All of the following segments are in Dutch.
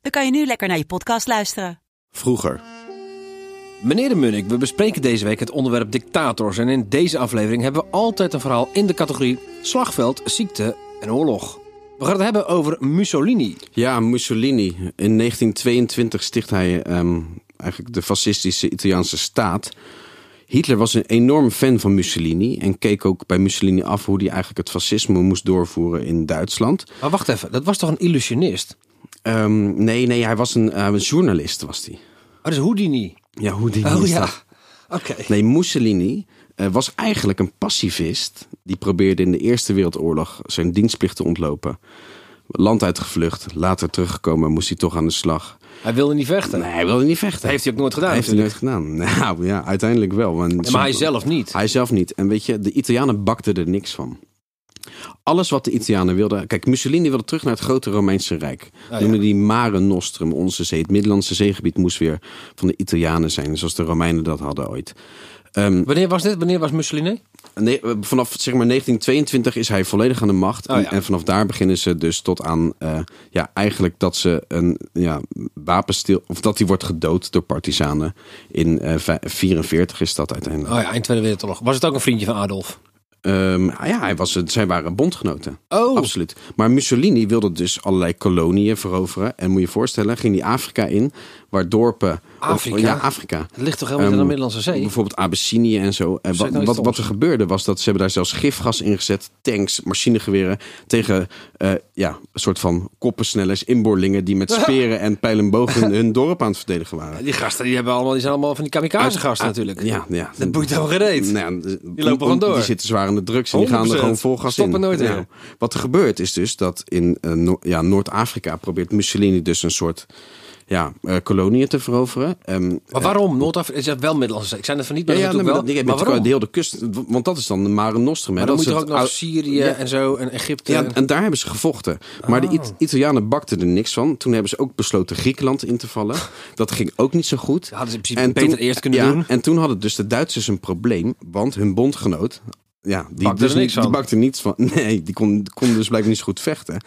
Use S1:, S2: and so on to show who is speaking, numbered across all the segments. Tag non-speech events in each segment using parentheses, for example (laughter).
S1: dan kan je nu lekker naar je podcast luisteren.
S2: Vroeger. Meneer de Munnik, we bespreken deze week het onderwerp dictators. En in deze aflevering hebben we altijd een verhaal in de categorie slagveld, ziekte en oorlog. We gaan het hebben over Mussolini.
S3: Ja, Mussolini. In 1922 sticht hij ehm, eigenlijk de fascistische Italiaanse staat. Hitler was een enorm fan van Mussolini en keek ook bij Mussolini af hoe hij eigenlijk het fascisme moest doorvoeren in Duitsland.
S2: Maar wacht even, dat was toch een illusionist?
S3: Ehm, nee, nee, hij was een, eh, een journalist, was hij.
S2: Oh, dat is Houdini.
S3: Ja, hoe die
S2: Oh
S3: is
S2: ja,
S3: dat?
S2: oké.
S3: Nee, Mussolini eh, was eigenlijk een pacifist. Die probeerde in de Eerste Wereldoorlog zijn dienstplicht te ontlopen. Land uitgevlucht, later teruggekomen, moest hij toch aan de slag.
S2: Hij wilde niet vechten.
S3: Nee, hij wilde niet vechten.
S2: Dat heeft hij ook nooit gedaan,
S3: Heeft hij nooit gedaan. (laughs) Nou ja, uiteindelijk wel. want soms-
S2: Maar hij zelf niet.
S3: Hij zelf niet. En weet je, de Italianen bakten er niks van. Alles wat de Italianen wilden... Kijk, Mussolini wilde terug naar het grote Romeinse Rijk. Noemde die Mare Nostrum, onze zee. Het Middellandse zeegebied moest weer van de Italianen zijn. Zoals de Romeinen dat hadden ooit.
S2: Wanneer was dit? Wanneer was Mussolini?
S3: Nee, eh, vanaf zeg maar 1922 is hij volledig aan de macht.
S2: Oh,
S3: en,
S2: ja.
S3: en vanaf daar beginnen ze dus tot aan eh, ja, eigenlijk dat ze een ja, wapenstil. of dat hij wordt gedood door partisanen. In 1944 is dat uiteindelijk.
S2: Oh ja, eind Tweede Wereldoorlog. Was het ook een vriendje van Adolf?
S3: Ehm, ja, hij was, het- zij waren bondgenoten.
S2: Oh.
S3: Absoluut. Maar Mussolini wilde dus allerlei koloniën veroveren. En moet je je voorstellen, ging hij Afrika in, waar dorpen. of-
S2: Afrika?
S3: ja, Afrika.
S2: Het ligt toch helemaal niet
S3: Ehm,
S2: aan de Middellandse Zee?
S3: Bijvoorbeeld Abyssinie en zo. En
S2: Zeg
S3: wat,
S2: nou iets
S3: wat, wat er
S2: stoms.
S3: gebeurde was dat ze hebben daar zelfs gifgas ingezet, tanks, machinegeweren. tegen eh, ja, een soort van koppensnellers, inboorlingen.
S2: (laughs)
S3: die met speren en pijlenbogen hun, hun dorp aan het verdedigen waren.
S2: Die gasten die hebben allemaal, die zijn allemaal van die kamikaze gasten natuurlijk.
S3: Ja, ja.
S2: Dat boeit helemaal geen reet.
S3: Nou ja,
S2: Die lopen gewoon door.
S3: Die zitten zwaar aan de drugs en die gaan er
S2: 100%.
S3: gewoon vol gas in.
S2: Stoppen nooit
S3: Ja.
S2: meer.
S3: Wat er gebeurt is dus dat in eh, Noor- ja, Noord-Afrika probeert Mussolini dus een soort ja, eh koloniën te veroveren. Ehm,
S2: Maar waarom? Noord-Afrika is wel Middellandse Zee. Ik zei het van niet,
S3: ja,
S2: maar
S3: ja,
S2: dat doe
S3: nee,
S2: ik
S3: maar
S2: wel.
S3: dat- ik heb
S2: maar
S3: het
S2: waarom?
S3: de hele kust, want dat is dan de Mare Nostrum. hè.
S2: Maar dan moet
S3: Dat is
S2: er ook
S3: het
S2: nog
S3: ou-
S2: Syrië
S3: Ja,
S2: en eh, Oh. zo en Egypte.
S3: ja,
S2: en-
S3: en daar hebben ze gevochten. Maar de It- Italianen bakten er niks van. Toen hebben ze ook besloten Griekenland in te vallen. Dat ging ook niet zo goed.
S2: hadden ze in principe beter eerst kunnen
S3: ja,
S2: doen.
S3: En toen hadden dus de Duitsers een probleem. Want hun bondgenoot... Ja, die
S2: Bakte
S3: dus
S2: er niks
S3: niet-
S2: van.
S3: Die bakte niets van. (laughs) Nee, die kon, kon dus blijkbaar niet zo goed vechten.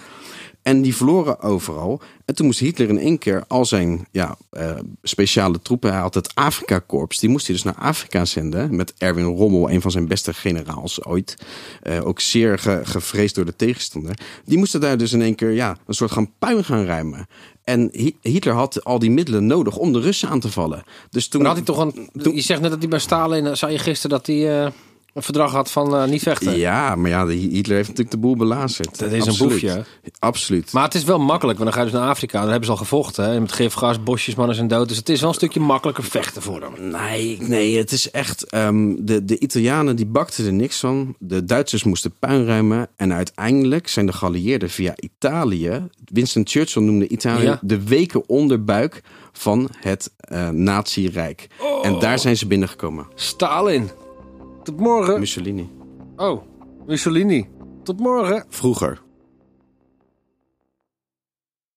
S3: En die verloren overal. En toen moest Hitler in één keer al zijn ja, eh, speciale troepen. Hij had het Afrika-korps. Die moest hij dus naar Afrika zenden. Met Erwin Rommel, een van zijn beste generaals ooit. Eh, ook zeer ge- gevreesd door de tegenstander. Die moesten daar dus in één keer ja, een soort gaan puin gaan ruimen. En Hi- Hitler had al die middelen nodig om de Russen aan te vallen. Dus toen
S2: Maar had hij toch een... Je zegt net dat hij bij Stalin... eh, Zei je gisteren dat hij eh, een verdrag had van eh, niet vechten.
S3: Ja, maar ja, de- Hitler heeft natuurlijk de boel belazerd.
S2: Dat is een
S3: Absoluut.
S2: boefje.
S3: Absoluut.
S2: Maar het is wel makkelijk, want dan ga je dus naar Afrika. Daar hebben ze al gevochten. Hè? Met gifgas, bosjes, mannen zijn dood. Dus het is wel een stukje makkelijker vechten voor hem.
S3: Nee, nee, het is echt. ehm, de, de Italianen die bakten er niks van. De Duitsers moesten puin ruimen. En uiteindelijk zijn de geallieerden via Italië. Winston Churchill noemde Italië
S2: Ja.
S3: de weken onderbuik van het eh Nazi-rijk. En daar zijn ze binnengekomen.
S2: Stalin. Tot morgen.
S3: Mussolini.
S2: Oh, Mussolini. Tot morgen.
S3: Vroeger.